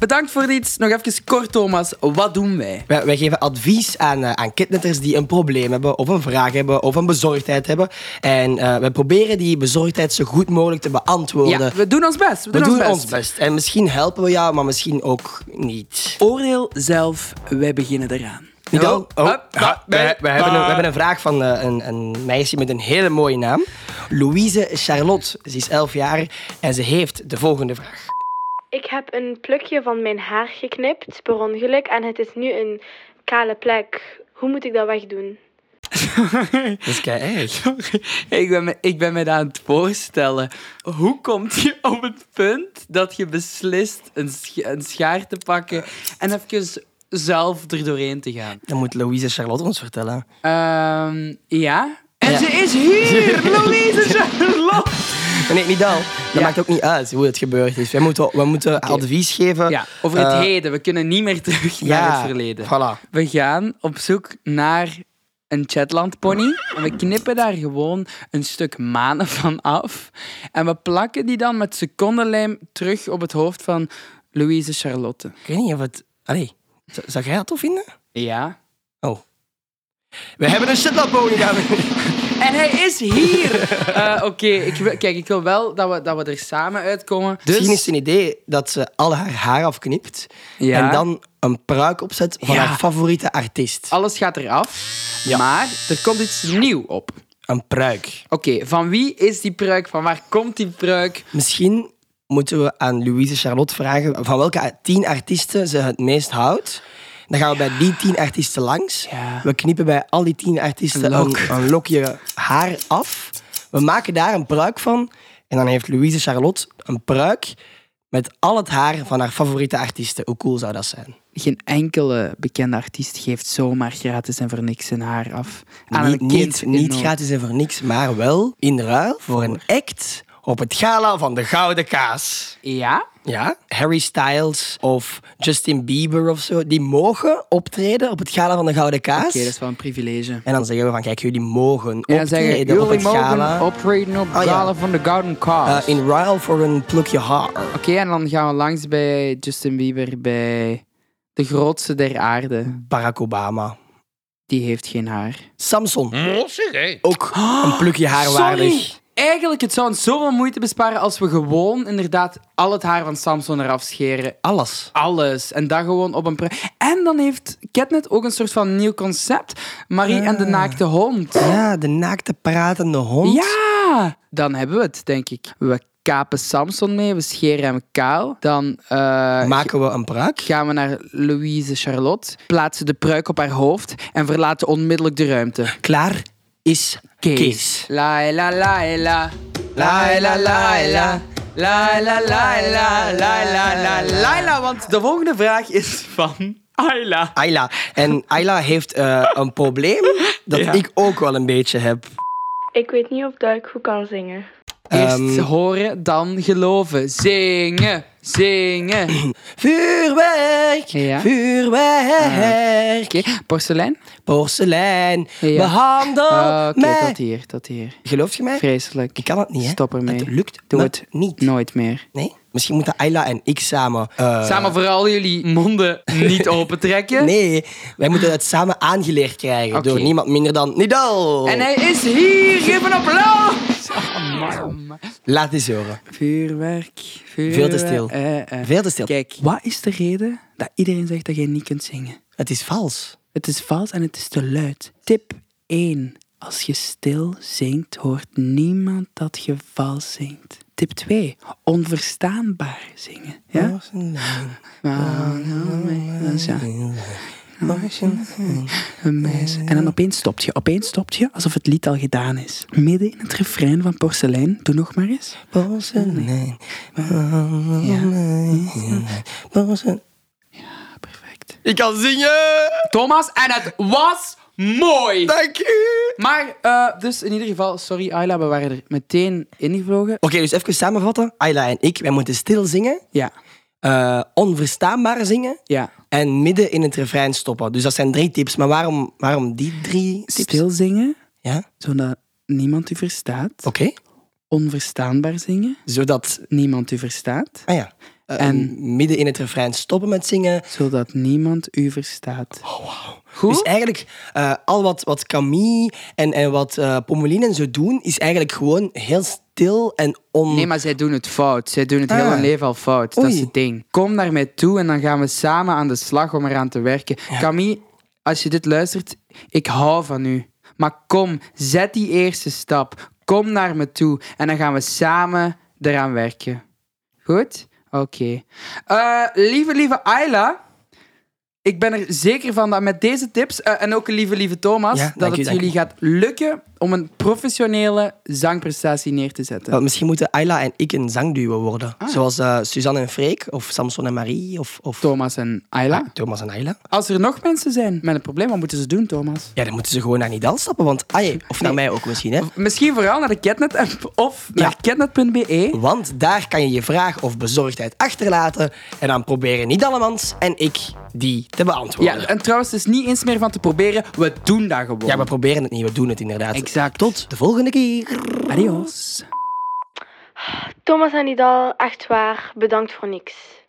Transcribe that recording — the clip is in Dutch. Bedankt voor dit. Nog even kort, Thomas. Wat doen wij? Wij, wij geven advies aan, eh, aan kidnetters die een probleem hebben, of een vraag hebben, of een bezorgdheid hebben. En eh wij proberen die bezorgdheid zo goed mogelijk te beantwoorden. Ja, we doen ons best. We we doen, ons, doen best. ons best. En misschien helpen we jou, maar misschien ook niet. Oordeel zelf. Wij beginnen eraan. Niet al? Yo. Oh, Hup, ha, we, hup, we hebben een, we hup. hebben een vraag van eh, een, een meisje met een hele mooie naam. Louise Charlotte. Ze is 11 jaar en ze heeft de volgende vraag. Ik heb een plukje van mijn haar geknipt, per ongeluk, en het is nu een kale plek. Hoe moet ik dat wegdoen? Dat is kei erg. Ik ben, me, ik ben me dat aan het voorstellen. Hoe komt je op het punt dat je beslist een, sch- een schaar te pakken en even zelf er doorheen te gaan? Dan moet Louise Charlotte ons vertellen. Ehm, ja. En Ja. ze is hier! Louise Charlotte! Nee, niet al. Dat Ja. maakt ook niet uit hoe het gebeurd is. We moeten, we moeten advies geven. Ja, over het Eh, heden. We kunnen niet meer terug naar ja, het verleden. Voilà. We gaan op zoek naar een Shetlandpony. En we knippen daar gewoon een stuk manen van af. En we plakken die dan met secondenlijm terug op het hoofd van Louise Charlotte. Ik weet niet of het... Allee, z- zou jij dat tof vinden? Ja. Oh. We hebben een shitlapony, dames en heren. En hij is hier! Eh, Oké, ik wil- kijk, ik wil wel dat we, dat we er samen uitkomen. Misschien is Dus... het een idee dat ze al haar haar afknipt Ja. en dan een pruik opzet van Ja. haar favoriete artiest. Alles gaat eraf, maar er komt iets nieuw op. Een pruik. Oké, van wie is die pruik? Van waar komt die pruik? Misschien moeten we aan Louise Charlotte vragen van welke tien artiesten ze het meest houdt. Dan gaan we bij die tien artiesten langs. Ja. We knippen bij al die tien artiesten Een een, lok. een lokje haar af. We maken daar een pruik van. En dan heeft Louise Charlotte een pruik met al het haar van haar favoriete artiesten. Hoe cool zou dat zijn? Geen enkele bekende artiest geeft zomaar gratis en voor niks zijn haar af. Aan niet, een kind niet, in niet nood. gratis en voor niks, maar wel in ruil voor een act op het gala van de Gouden Kaas. Ja? Ja, Harry Styles of Justin Bieber of zo, die mogen optreden op het gala van de Gouden Kaas. Oké, dat is wel een privilege. En dan zeggen we van, kijk, jullie mogen En dan optreden zeggen op jullie het mogen gala optreden op het Ah, ja. gala van de Golden Cause. eh, in ruil voor een plukje haar. Oké, en dan gaan we langs bij Justin Bieber, bij de grootste der aarde. Barack Obama. Die heeft geen haar. Samson. Ook een plukje haar Sorry! waardig. Eigenlijk, het zou ons zoveel moeite besparen als we gewoon inderdaad al het haar van Samson eraf scheren. Alles. alles. En dat gewoon op een... pre- En dan heeft Catnet ook een soort van nieuw concept. Marie en de naakte Ah. hond. Ja, de naakte pratende hond. Ja! Dan hebben we het, denk ik. We kapen Samson mee, we scheren hem kaal. Dan eh, Maken we een pruik? gaan we naar Louise Charlotte, plaatsen de pruik op haar hoofd en verlaten onmiddellijk de ruimte. Klaar is Kees. La la la la. La la la la. La la la la. La la la la la. Want de volgende vraag is van Ayla. Ayla. En Ayla heeft eh, een probleem dat Ja. ik ook wel een beetje heb. Ik weet niet of dat ik goed kan zingen. Eerst Ehm. horen, dan geloven. Zingen, zingen. Oké, Vuurwerk, Ja. vuurwerk, porselein? porselein, Ja. behandel Ah, Oké, mij. tot hier, tot hier. Geloof je mij? Vreselijk. Ik kan het niet, hè? Stop ermee. Het lukt Doe me het niet. Nooit meer. Nee? Misschien moeten Ayla en ik samen... eh, Samen vooral jullie monden niet opentrekken. Nee, wij moeten het samen aangeleerd krijgen Oké. door niemand minder dan Nidal. En hij is hier, geef een applaus! Oh, man, oh, man. Laat eens horen. Vuurwerk, vuurwerk. Veel te stil. eh, eh. Veel te stil. Kijk, wat is de reden dat iedereen zegt dat jij niet kunt zingen? Het is vals. Het is vals en het is te luid. Tip 1. Als je stil zingt, hoort niemand dat je vals zingt. Tip 2. Onverstaanbaar zingen. Ja? Ah, En dan opeens stopt je. Opeens stopt je alsof het lied al gedaan is. Midden in het refrein van Porselein. Doe nog maar eens. Porselein, porselein. Perfect. Ik kan zingen! Thomas, en het was mooi! Dank u! Maar, eh, dus in ieder geval, sorry Ayla, we waren er meteen ingevlogen. Oké, dus even samenvatten. Ayla en ik, wij moeten stil zingen, Ja, eh, onverstaanbaar zingen ja. en midden in het refrein stoppen. Dus dat zijn drie tips. Maar waarom, waarom die drie tips? Stil zingen, Ja, oké. zodat niemand u verstaat. Onverstaanbaar zingen, Zodat... niemand u verstaat. Ah ja. eh, En? midden in het refrein stoppen met zingen. Zodat niemand u verstaat. Goed? Dus eigenlijk, eh, al wat, wat Camille en, en wat eh Pommeline en zo doen, is eigenlijk gewoon heel stil en on... Nee, maar zij doen het fout. Zij doen het Ah. hele leven al fout. Dat Oei. is het ding. Kom naar mij toe en dan gaan we samen aan de slag om eraan te werken. Camille, als je dit luistert, ik hou van u. Maar kom, zet die eerste stap. Kom naar me toe en dan gaan we samen eraan werken. Goed? Oké. Eh, lieve, lieve Ayla. Ik ben er zeker van dat met deze tips, eh, en ook lieve, lieve Thomas, Ja, dank dat u, het dank u. jullie gaat lukken om een professionele zangprestatie neer te zetten. Want misschien moeten Ayla en ik een zangduo worden. Ah. Zoals eh, Suzanne en Freek, of Samson en Marie, of, of Thomas en Ayla. Thomas en Ayla. Als er nog mensen zijn met een probleem, wat moeten ze doen, Thomas? Ja, dan moeten ze gewoon naar Nidal stappen, want... Ah, ja, of naar mij ook misschien, hè. Misschien vooral naar de Catnet-app of naar Ja. catnet.be. Want daar kan je je vraag of bezorgdheid achterlaten. En dan proberen niet allemaal en ik die te Ja, beantwoorden. Ja, en trouwens, het is niet eens meer van te proberen. We doen dat gewoon. we proberen het niet. We doen het inderdaad. Exact. Tot de volgende keer. Adios. Thomas en Nidal, echt waar, bedankt voor niks.